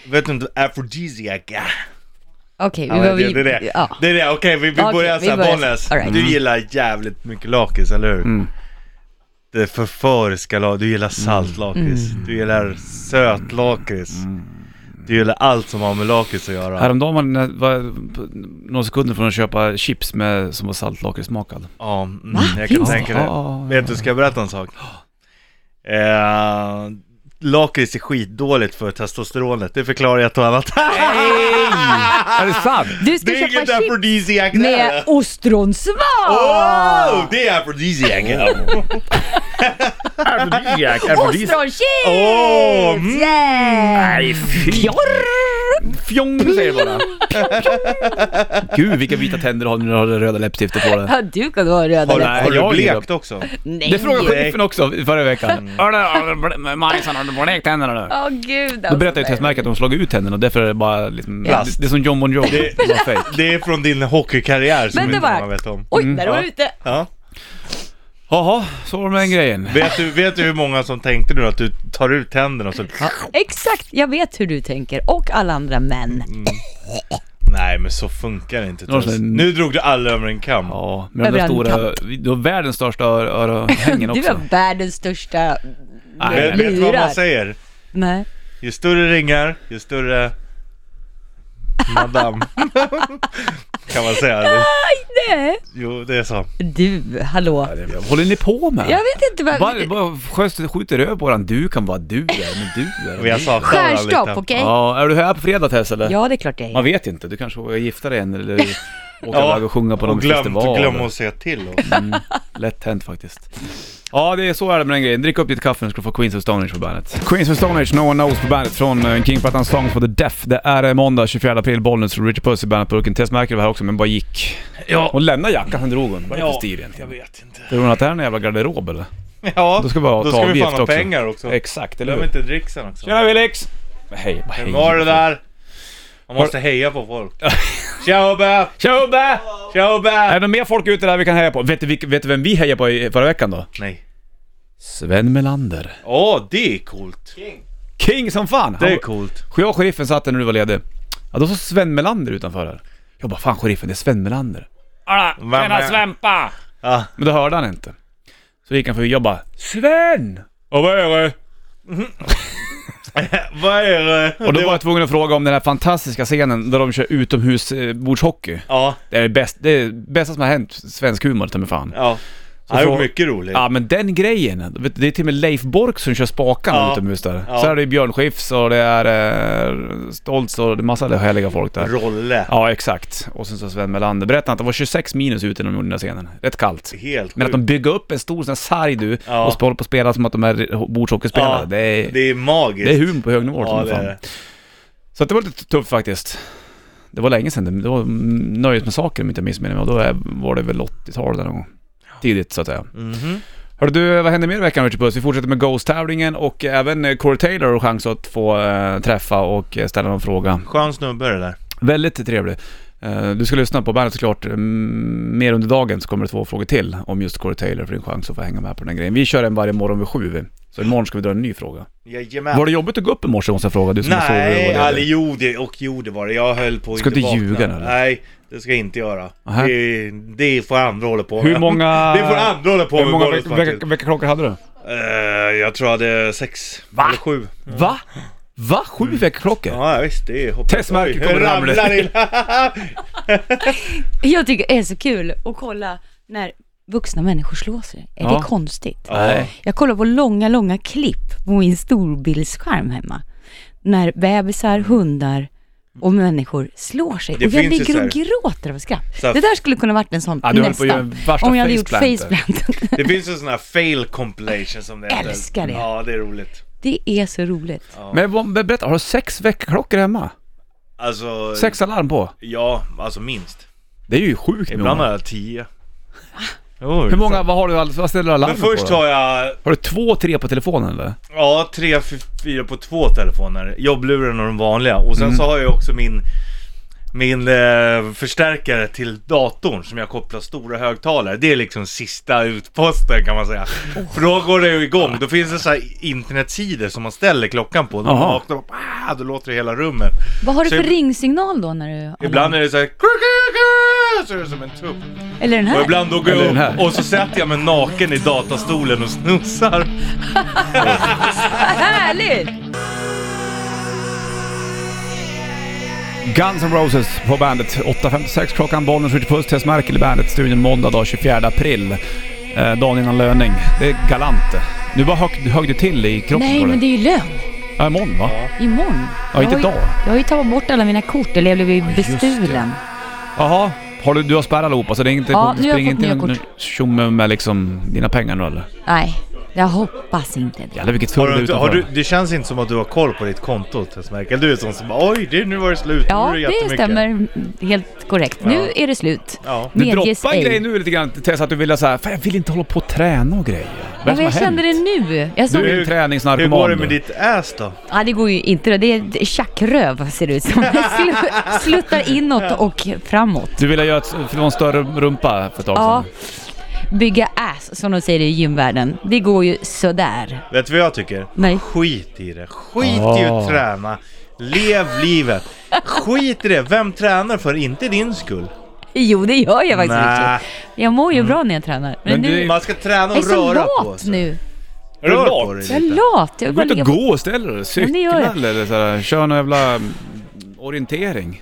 [SPEAKER 2] Vet du inte, aphrodisiac ja.
[SPEAKER 4] Okej,
[SPEAKER 2] Ja,
[SPEAKER 4] vi var
[SPEAKER 2] det, det, det.
[SPEAKER 4] Ja.
[SPEAKER 2] det är det, okej vi, vi
[SPEAKER 4] Okej,
[SPEAKER 2] börjar
[SPEAKER 4] vi
[SPEAKER 2] såhär,
[SPEAKER 4] börjar så.
[SPEAKER 2] Bollnäs,
[SPEAKER 4] All right. Mm.
[SPEAKER 2] du gillar jävligt mycket lakrits, eller hur? Det förföriska lakrits, du gillar saltlakrits,
[SPEAKER 4] Mm.
[SPEAKER 2] du gillar söt lakrits Du gillar allt som har med lakrits att göra
[SPEAKER 1] Häromdagen var, det- var på några sekunder från att köpa chips med, som var Ah. saltlakritssmakad.
[SPEAKER 2] Ja, mm,
[SPEAKER 4] Va?
[SPEAKER 2] jag kan
[SPEAKER 4] Finns Ah.
[SPEAKER 2] tänka
[SPEAKER 1] det?
[SPEAKER 2] det.
[SPEAKER 1] Ja, ja,
[SPEAKER 2] Vet du, ska jag berätta en sak? Eh, lakrits är skitdåligt för testosteronet, det förklarar jag till annat
[SPEAKER 1] Är det sant?
[SPEAKER 4] Du ska
[SPEAKER 2] Det är inget
[SPEAKER 4] köpa chips
[SPEAKER 2] afrodisiac det
[SPEAKER 4] med Ah.
[SPEAKER 2] här.
[SPEAKER 4] ostronsvans!
[SPEAKER 2] Åh, det är afrodisiac!
[SPEAKER 4] Oh.
[SPEAKER 2] afrodisiac,
[SPEAKER 4] Ostronchips!
[SPEAKER 2] Åh, mm.
[SPEAKER 4] Yeah!
[SPEAKER 1] Nej fy! Fjong säger det bara. Gud vilka vita tänder du har när du har det röda läppstiftet på dig.
[SPEAKER 4] Ja, du kan ha röda
[SPEAKER 2] Har, du-
[SPEAKER 1] Nej,
[SPEAKER 2] har
[SPEAKER 1] jag
[SPEAKER 2] du
[SPEAKER 1] gillar-
[SPEAKER 2] blekt också?
[SPEAKER 4] Nej!
[SPEAKER 1] Det frågade sheriffen också förra veckan. Hörru, har du- Majsan har du blekt tänderna nu?
[SPEAKER 4] Åh gud alltså.
[SPEAKER 1] Då berättade ju Tessmärket att de slagit ut tänderna och därför är det bara liksom,
[SPEAKER 2] Plast.
[SPEAKER 1] Det är som John Bon Jovi,
[SPEAKER 2] Det-
[SPEAKER 1] det var fake.
[SPEAKER 2] Det är från din hockeykarriär som
[SPEAKER 4] Men det
[SPEAKER 2] inte
[SPEAKER 4] var-
[SPEAKER 2] man vet om.
[SPEAKER 4] Oj,
[SPEAKER 1] Mm.
[SPEAKER 4] där var
[SPEAKER 2] Ja.
[SPEAKER 4] du ute!
[SPEAKER 2] Ja.
[SPEAKER 1] Jaha, så var det med den grejen.
[SPEAKER 2] Vet, du, vet du hur många som tänkte nu att du tar ut tänderna och så...
[SPEAKER 4] Exakt, jag vet hur du tänker och alla andra män.
[SPEAKER 2] Nej men så funkar det inte
[SPEAKER 1] Någon
[SPEAKER 2] Tess.
[SPEAKER 1] sån-
[SPEAKER 2] Nu drog du alla över en kam.
[SPEAKER 1] Ja, med de där
[SPEAKER 4] Över en
[SPEAKER 1] stora, du har världens största ö- örohängen
[SPEAKER 4] Du
[SPEAKER 1] också.
[SPEAKER 4] var världens största
[SPEAKER 1] Nej,
[SPEAKER 2] Vet, vet du vad
[SPEAKER 4] lurar.
[SPEAKER 2] man säger?
[SPEAKER 4] Nej.
[SPEAKER 2] Ju större ringar, ju större... Madame. kan man säga det?
[SPEAKER 4] Nej.
[SPEAKER 2] Jo, det är så.
[SPEAKER 4] Du, hallå.
[SPEAKER 1] Vad håller ni på med?
[SPEAKER 4] Jag vet inte vad...
[SPEAKER 1] Bara, bara sköst, skjuter över på varandra. Du kan vara du är, men du är.
[SPEAKER 2] Vi har saknat varandra lite.
[SPEAKER 4] Skärskap, okej?
[SPEAKER 1] Ja, är du här på fredag Tess eller?
[SPEAKER 4] Ja, det är klart jag är.
[SPEAKER 1] Man vet inte, du kanske vågar gifta dig än eller Åka
[SPEAKER 2] Ja,
[SPEAKER 1] iväg och sjunga på någon
[SPEAKER 2] och glöm,
[SPEAKER 1] festival.
[SPEAKER 2] glöm att säga till oss.
[SPEAKER 1] Lätt hänt faktiskt. Ja, det är så är det med den grejen. Drick upp ditt kaffe nu ska du få Queens of Stone Age på bandet. Queens of Stone Age, No One Knows på bandet från eh, King-plattan Songs for the Deaf. Det är eh, måndag 24 april, Bollnäs, Richard Puss i bandet-burken. Tess märker det här också, men bara gick.
[SPEAKER 2] Ja,
[SPEAKER 1] Hon lämnade jackan, sen drog hon. Vad är det för
[SPEAKER 2] ja
[SPEAKER 1] stil
[SPEAKER 2] jag
[SPEAKER 1] egentligen?
[SPEAKER 2] vet inte.
[SPEAKER 1] Tror hon att det här är en jävla garderob eller?
[SPEAKER 2] Ja,
[SPEAKER 1] Då ska vi bara
[SPEAKER 2] då
[SPEAKER 1] ta
[SPEAKER 2] ska vi
[SPEAKER 1] avgift
[SPEAKER 2] fan ha
[SPEAKER 1] också.
[SPEAKER 2] pengar också.
[SPEAKER 1] Exakt, eller
[SPEAKER 2] Glöm
[SPEAKER 1] hur?
[SPEAKER 2] inte dricksen också.
[SPEAKER 1] Tjena Felix! Hej, hej.
[SPEAKER 2] Hur var det där? Man måste heja på folk. Tja Ubbe!
[SPEAKER 1] Tja Ubbe!
[SPEAKER 2] Tja
[SPEAKER 1] Är
[SPEAKER 2] Ubbe!
[SPEAKER 1] det mer folk ute där vi kan heja på? Vet du, vilk- vet du vem vi hejade på i förra veckan då?
[SPEAKER 2] Nej.
[SPEAKER 1] Sven Melander.
[SPEAKER 2] Åh, det är coolt.
[SPEAKER 1] King som fan!
[SPEAKER 2] Det är
[SPEAKER 1] Han-
[SPEAKER 2] coolt.
[SPEAKER 1] Jag och sheriffen satt där när du var ledig. Ja, då såg Sven Melander utanför här. Jag bara, fan sheriffen, det är Sven Melander.
[SPEAKER 2] Vem är-
[SPEAKER 1] Svempa!
[SPEAKER 2] Ja.
[SPEAKER 1] Men då hörde han inte. Så gick han förbi, jag bara, Sven! Och vad är det?
[SPEAKER 2] Vad är det?
[SPEAKER 1] Och då var jag tvungen att fråga om den här fantastiska scenen där de kör utomhusbordshockey.
[SPEAKER 2] Ja,
[SPEAKER 1] Det är det bäst, det, är det bästa som har hänt svensk humor, ta mig fan.
[SPEAKER 2] ja. det
[SPEAKER 1] så-
[SPEAKER 2] var mycket roligt.
[SPEAKER 1] Ja men den grejen, vet du, det är till och med Leif Bork som kör spakarna
[SPEAKER 2] Ja.
[SPEAKER 1] utomhus där.
[SPEAKER 2] Ja.
[SPEAKER 1] Så är det ju Björn Skifs och det är eh, Stoltz och det är massa härliga folk där.
[SPEAKER 2] Rolle.
[SPEAKER 1] Ja, exakt. Och sen så Sven Melander. Berättade att det var 26 minus ute när de gjorde den här scenen. Rätt kallt.
[SPEAKER 2] Helt
[SPEAKER 1] Men att de
[SPEAKER 2] sjukt.
[SPEAKER 1] bygger upp en stor sån här sarg du
[SPEAKER 2] Ja.
[SPEAKER 1] och håller på att spela som att de är bordshockeyspelare.
[SPEAKER 2] Ja,
[SPEAKER 1] det, är,
[SPEAKER 2] Det är magiskt.
[SPEAKER 1] det är humor på hög nivå.
[SPEAKER 2] Ja,
[SPEAKER 1] som
[SPEAKER 2] det
[SPEAKER 1] fan.
[SPEAKER 2] är det.
[SPEAKER 1] Så att det var lite tufft faktiskt. Det var länge sedan. Det- Det var mm, nöjet med saker om inte jag missminner mig. Och då är- var det väl 80-talet eller någon gång. Tidigt så att säga.
[SPEAKER 2] Mhm.
[SPEAKER 1] Hörru du, vad händer mer i veckan Richard Puss? Vi fortsätter med Ghost-tävlingen och även eh, Corey Taylor har chans att få eh, träffa och eh, ställa någon fråga.
[SPEAKER 2] Skön snubbe det där.
[SPEAKER 1] Väldigt trevlig. Eh, Du ska lyssna på bandet såklart. Mm, Mer under dagen så kommer det två frågor till om just Corey Taylor för din chans att få hänga med på den här grejen. Vi kör en varje morgon vid sju. Så imorgon ska vi dra en ny fråga.
[SPEAKER 2] Jajamän.
[SPEAKER 1] Var det jobbigt att gå upp i morse måste jag fråga, du som har sovit och
[SPEAKER 2] Nej,
[SPEAKER 1] varit
[SPEAKER 2] eller
[SPEAKER 1] ledig.
[SPEAKER 2] jo det, och jo det var det. Jag höll på att
[SPEAKER 1] Ska inte
[SPEAKER 2] vakna.
[SPEAKER 1] ljuga nu, eller?
[SPEAKER 2] Nej, det ska jag inte göra.
[SPEAKER 1] Aha.
[SPEAKER 2] Det, det får andra hålla på med.
[SPEAKER 1] Hur många...
[SPEAKER 2] Det får andra hålla på
[SPEAKER 1] Hur
[SPEAKER 2] med
[SPEAKER 1] många
[SPEAKER 2] Bollnäs
[SPEAKER 1] veck- veck-
[SPEAKER 2] faktiskt.
[SPEAKER 1] veckaklockor hade du?
[SPEAKER 2] Eh, jag tror jag hade sex eller sju.
[SPEAKER 1] Va? Va? Sju veckaklockor?
[SPEAKER 2] Mm. Ja ja, visst, det är hoppas
[SPEAKER 1] Tess Merkel
[SPEAKER 2] Oj,
[SPEAKER 1] kommer ramla.
[SPEAKER 2] ramlar in.
[SPEAKER 4] Jag tycker det är så kul att kolla när vuxna människor slår sig. Är
[SPEAKER 1] Ja.
[SPEAKER 4] det konstigt?
[SPEAKER 1] Nej.
[SPEAKER 4] Jag kollar på långa, långa klipp på min storbildsskärm hemma. När bebisar, hundar och människor slår sig.
[SPEAKER 2] Det
[SPEAKER 4] och jag
[SPEAKER 2] finns ju så
[SPEAKER 4] ligger
[SPEAKER 2] här-
[SPEAKER 4] och gråter av skratt.
[SPEAKER 2] Så här-
[SPEAKER 4] Det där skulle kunna varit en sån
[SPEAKER 1] Ja, du höll på att göra
[SPEAKER 4] nästan.
[SPEAKER 1] värsta
[SPEAKER 4] Om jag hade gjort
[SPEAKER 1] faceplanten.
[SPEAKER 4] faceplant.
[SPEAKER 2] Det finns en sån här fail compilation som det heter.
[SPEAKER 4] Älskar det.
[SPEAKER 2] Ja, det är roligt.
[SPEAKER 4] det är så roligt.
[SPEAKER 1] Men vad- men berätta, har du sex veckaklockor hemma?
[SPEAKER 2] Alltså,
[SPEAKER 1] Sex alarm på?
[SPEAKER 2] ja, alltså minst.
[SPEAKER 1] Det är ju sjukt
[SPEAKER 2] Ibland har
[SPEAKER 1] många.
[SPEAKER 2] jag tio. Jo,
[SPEAKER 1] Hur många, vad har du, all- vad ställer du alarm
[SPEAKER 2] Men först
[SPEAKER 1] på? då?
[SPEAKER 2] har jag,
[SPEAKER 1] Har du två, tre på telefonen eller?
[SPEAKER 2] ja, tre, fy- fyra på två telefoner. Jobbluren och den vanliga. Och sen
[SPEAKER 1] Mm.
[SPEAKER 2] så har jag också min, min eh, förstärkare till datorn som jag kopplar stora högtalare. Det är liksom sista utposten kan man säga.
[SPEAKER 1] Oh.
[SPEAKER 2] För då går det ju igång. Då finns det så här internetsidor som man ställer klockan på. Då
[SPEAKER 1] Jaha.
[SPEAKER 2] vaknar man, ah, då låter det i hela rummet.
[SPEAKER 4] Vad har du
[SPEAKER 2] Så
[SPEAKER 4] för
[SPEAKER 2] ib-
[SPEAKER 4] ringsignal då när du... har
[SPEAKER 2] Ibland
[SPEAKER 4] larm?
[SPEAKER 2] är det så här, "Kru, kru, kru", så är det som en tupp.
[SPEAKER 4] Eller den
[SPEAKER 2] Och
[SPEAKER 4] här?
[SPEAKER 2] ibland då går
[SPEAKER 1] Eller den
[SPEAKER 2] jag upp
[SPEAKER 1] här.
[SPEAKER 2] och så sätter jag mig naken i datastolen och snusar.
[SPEAKER 4] Härligt!
[SPEAKER 1] Guns N' Roses på bandet. 8.56 klockan, bollen skjuter puss. Tess Merkel i bandet. Studion måndag dag 24 april. Eh, dagen innan löning. Det är galant Nu bara högg, högg det till i kroppen
[SPEAKER 4] Nej,
[SPEAKER 1] på
[SPEAKER 4] men det
[SPEAKER 1] dig.
[SPEAKER 4] är ju lön.
[SPEAKER 1] Ja, imorgon va?
[SPEAKER 4] Imorgon.
[SPEAKER 1] Ja, inte
[SPEAKER 4] Jag har ju-
[SPEAKER 1] idag.
[SPEAKER 4] Jag har ju tagit bort alla mina kort, eller jag blev ju bestulen.
[SPEAKER 1] Jaha. Har du, du har spärrat allihopa så det är inte...
[SPEAKER 4] Ja,
[SPEAKER 1] det
[SPEAKER 4] nu har
[SPEAKER 1] springer
[SPEAKER 4] jag fått
[SPEAKER 1] inte
[SPEAKER 4] nya
[SPEAKER 1] in tjomme med liksom dina pengar nu eller?
[SPEAKER 4] Nej, jag hoppas inte det.
[SPEAKER 1] Jävlar vilket
[SPEAKER 2] Har
[SPEAKER 1] surr
[SPEAKER 2] du,
[SPEAKER 1] det är
[SPEAKER 2] inte- har
[SPEAKER 1] utanför.
[SPEAKER 2] du, det känns inte som att du har koll på ditt konto Tess Merkel. Du är sån som bara, oj det, nu var det slut.
[SPEAKER 4] Ja,
[SPEAKER 2] nu är det,
[SPEAKER 4] det
[SPEAKER 2] jättemycket."
[SPEAKER 4] stämmer helt korrekt. Nu är det slut.
[SPEAKER 2] Ja.
[SPEAKER 1] Du
[SPEAKER 4] Medges
[SPEAKER 1] droppar en
[SPEAKER 4] ej.
[SPEAKER 1] grej nu lite grann Tess, att du ville såhär, fan jag vill inte hålla på och träna och grejer. Vad
[SPEAKER 4] Ja,
[SPEAKER 1] är det
[SPEAKER 4] men
[SPEAKER 1] som
[SPEAKER 4] jag
[SPEAKER 1] har
[SPEAKER 4] kände det
[SPEAKER 1] hänt?
[SPEAKER 4] nu. Jag såg...
[SPEAKER 1] Du är ju en
[SPEAKER 2] Hur
[SPEAKER 1] träningsnarkoman
[SPEAKER 2] går det
[SPEAKER 1] du.
[SPEAKER 2] med ditt ass då?
[SPEAKER 4] Ja, det går ju inte. då. Det är ett tjackröv ser det ut som. Det slu- Sluttar inåt och framåt.
[SPEAKER 1] Du ville göra ett, för det var en större rumpa för ett tag
[SPEAKER 4] Ja.
[SPEAKER 1] sedan.
[SPEAKER 4] Bygga ass, som de säger i gymvärlden. Det går ju sådär.
[SPEAKER 2] Vet du vad jag tycker?
[SPEAKER 4] Nej.
[SPEAKER 2] Skit i det. Skit i
[SPEAKER 1] Ah.
[SPEAKER 2] att träna. Lev livet. Skit i det. Vem tränar för? Inte din skull.
[SPEAKER 4] Jo, det gör jag faktiskt.
[SPEAKER 2] Nä.
[SPEAKER 4] Richard. Jag mår
[SPEAKER 2] Mm.
[SPEAKER 4] ju bra när jag tränar. Men,
[SPEAKER 1] Men
[SPEAKER 4] nu...
[SPEAKER 1] det-
[SPEAKER 2] Man ska träna
[SPEAKER 4] Jag är
[SPEAKER 2] och
[SPEAKER 4] så
[SPEAKER 2] röra på
[SPEAKER 4] lat
[SPEAKER 2] sig.
[SPEAKER 4] nu.
[SPEAKER 1] Är du
[SPEAKER 2] Rör
[SPEAKER 1] lat?
[SPEAKER 2] på dig
[SPEAKER 4] Jag är
[SPEAKER 2] lite.
[SPEAKER 4] lat. Jag
[SPEAKER 1] Gå
[SPEAKER 4] bara
[SPEAKER 1] ut
[SPEAKER 4] ligga
[SPEAKER 1] och
[SPEAKER 4] på...
[SPEAKER 1] gå och ställ dig.
[SPEAKER 4] Ja, det gör
[SPEAKER 1] Cykla
[SPEAKER 4] jag.
[SPEAKER 1] eller sådär. Kör någon jävla mm, orientering.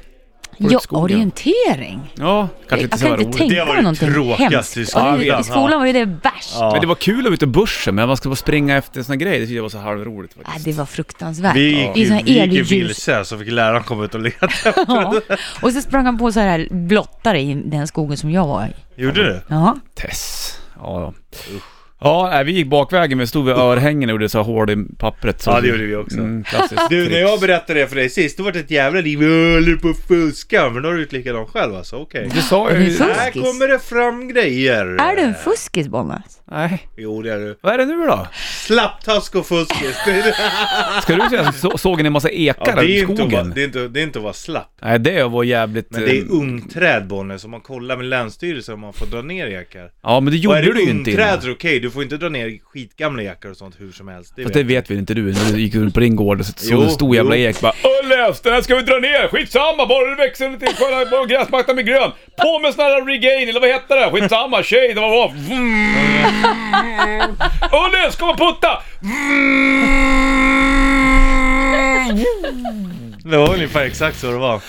[SPEAKER 1] ut i
[SPEAKER 4] Ja,
[SPEAKER 1] skogen.
[SPEAKER 4] orientering.
[SPEAKER 1] Ja, kanske inte
[SPEAKER 4] jag
[SPEAKER 1] så
[SPEAKER 4] kan
[SPEAKER 1] här
[SPEAKER 4] inte
[SPEAKER 1] roligt.
[SPEAKER 4] tänka
[SPEAKER 2] Det var
[SPEAKER 4] mig
[SPEAKER 2] det
[SPEAKER 4] någonting
[SPEAKER 2] tråkigaste i
[SPEAKER 4] hemskt. Ja, det-
[SPEAKER 2] skolan.
[SPEAKER 4] I skolan var ju det värst. Ja.
[SPEAKER 1] Men det
[SPEAKER 2] Ja.
[SPEAKER 1] var kul att vara ute i bushen, men man ska bara springa efter såna grejer, det tyckte jag var så halvroligt faktiskt.
[SPEAKER 4] det var fruktansvärt.
[SPEAKER 2] Vi gick,
[SPEAKER 4] I såna
[SPEAKER 2] ju,
[SPEAKER 4] här
[SPEAKER 2] vi gick ju
[SPEAKER 4] elljus.
[SPEAKER 2] vilse så fick läraren komma ut och leta.
[SPEAKER 4] Ja. Och så sprang han på så här blottare i den skogen som jag var i.
[SPEAKER 2] Gjorde du?
[SPEAKER 4] Ja.
[SPEAKER 1] Tess. Ja, ja. Ja, nej, vi gick bakvägen, men stod vid örhängen och gjorde så här hål i pappret. Mm, Så
[SPEAKER 2] Ja, det gjorde vi också.
[SPEAKER 1] klassiskt
[SPEAKER 2] Du, när
[SPEAKER 1] trick.
[SPEAKER 2] jag berättade det för dig sist, då var det ett jävla liv. Jag håller på att fuska, men då har du gjort likadant själv alltså, okej.
[SPEAKER 1] Du sa
[SPEAKER 4] Är det
[SPEAKER 1] ju...
[SPEAKER 4] så?
[SPEAKER 2] Här
[SPEAKER 4] Fuskis.
[SPEAKER 2] kommer det fram grejer.
[SPEAKER 4] Är du en fuskis, Bollnäs?
[SPEAKER 1] Nej.
[SPEAKER 2] Jo, det är du.
[SPEAKER 1] Vad är det nu då?
[SPEAKER 2] Slapptask och fuskis. Det är-
[SPEAKER 1] Ska du säga så, såg ni en massa ekar
[SPEAKER 2] Ja, det,
[SPEAKER 1] i
[SPEAKER 2] är inte att vara,
[SPEAKER 1] skogen?
[SPEAKER 2] det, är inte, det är inte att vara slapp.
[SPEAKER 1] Nej, det var jävligt...
[SPEAKER 2] Men det
[SPEAKER 1] eh,
[SPEAKER 2] är ungträd Bollnäs, om man kollar med Länsstyrelsen om man får dra ner ekar.
[SPEAKER 1] Ja, men det
[SPEAKER 2] Och
[SPEAKER 1] gjorde
[SPEAKER 2] är det
[SPEAKER 1] du ju inte
[SPEAKER 2] ungträd
[SPEAKER 1] innan.
[SPEAKER 2] så är det okej, du får inte dra ner skitgamla ekar och sånt hur som helst. Det
[SPEAKER 1] Fast
[SPEAKER 2] vet
[SPEAKER 1] det vet vi inte du. När du gick runt på din gård så såg
[SPEAKER 2] Jo,
[SPEAKER 1] du en stor jävla
[SPEAKER 2] jo.
[SPEAKER 1] ek bara Ulläs, den här ska vi dra ner! Skitsamma, bara du växer lite till sköna på gräsmattan med grön! På med sån här regain, eller vad heter det? Skitsamma, tjej, det var bra! Ulläs, kom och putta!
[SPEAKER 2] jag. Det var ungefär exakt så det var.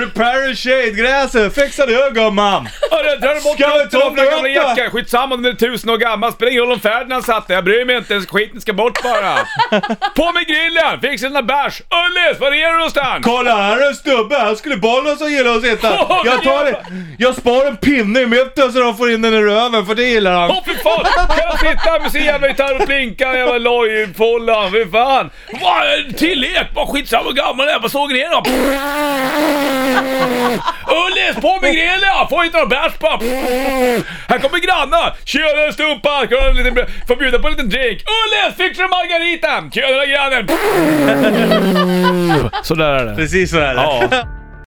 [SPEAKER 2] Repair and shade gräset, fixa det gumman!
[SPEAKER 1] Hörru, drar du bort
[SPEAKER 2] Ska vi ta
[SPEAKER 1] rötterna gamla
[SPEAKER 2] upp då?
[SPEAKER 1] jackan? Skitsamma om den är tusen år gammal, spelar ingen roll om Ferdinand satt där. Jag bryr mig inte, skiten ska bort bara. På med grillen, fixa dina bärs. Ullis, var är du någonstans?
[SPEAKER 2] Kolla här är en snubbe, han skulle bara som gillar att sitta.
[SPEAKER 1] Åh,
[SPEAKER 2] Jag tar det, jag spar en pinne i mitten så de får in den i röven för det gillar han.
[SPEAKER 1] Åh fy fan! Kan jag sitta här med sin jävla gitarr och plinka jävla lojfollan? Fy fan! Vad en till ek? Bara skitsamma hur gammal jag är, vad såg ni då? Ullis, på med grillen! Får inte några bärs på! Här kommer grannar! Tjenare stumpan! Ska du ha en liten- Får bjuda på en liten drink? Ullis, fixar du margariten? Tjenare grannen! Sådär är det.
[SPEAKER 2] Precis så är det.
[SPEAKER 1] Ja.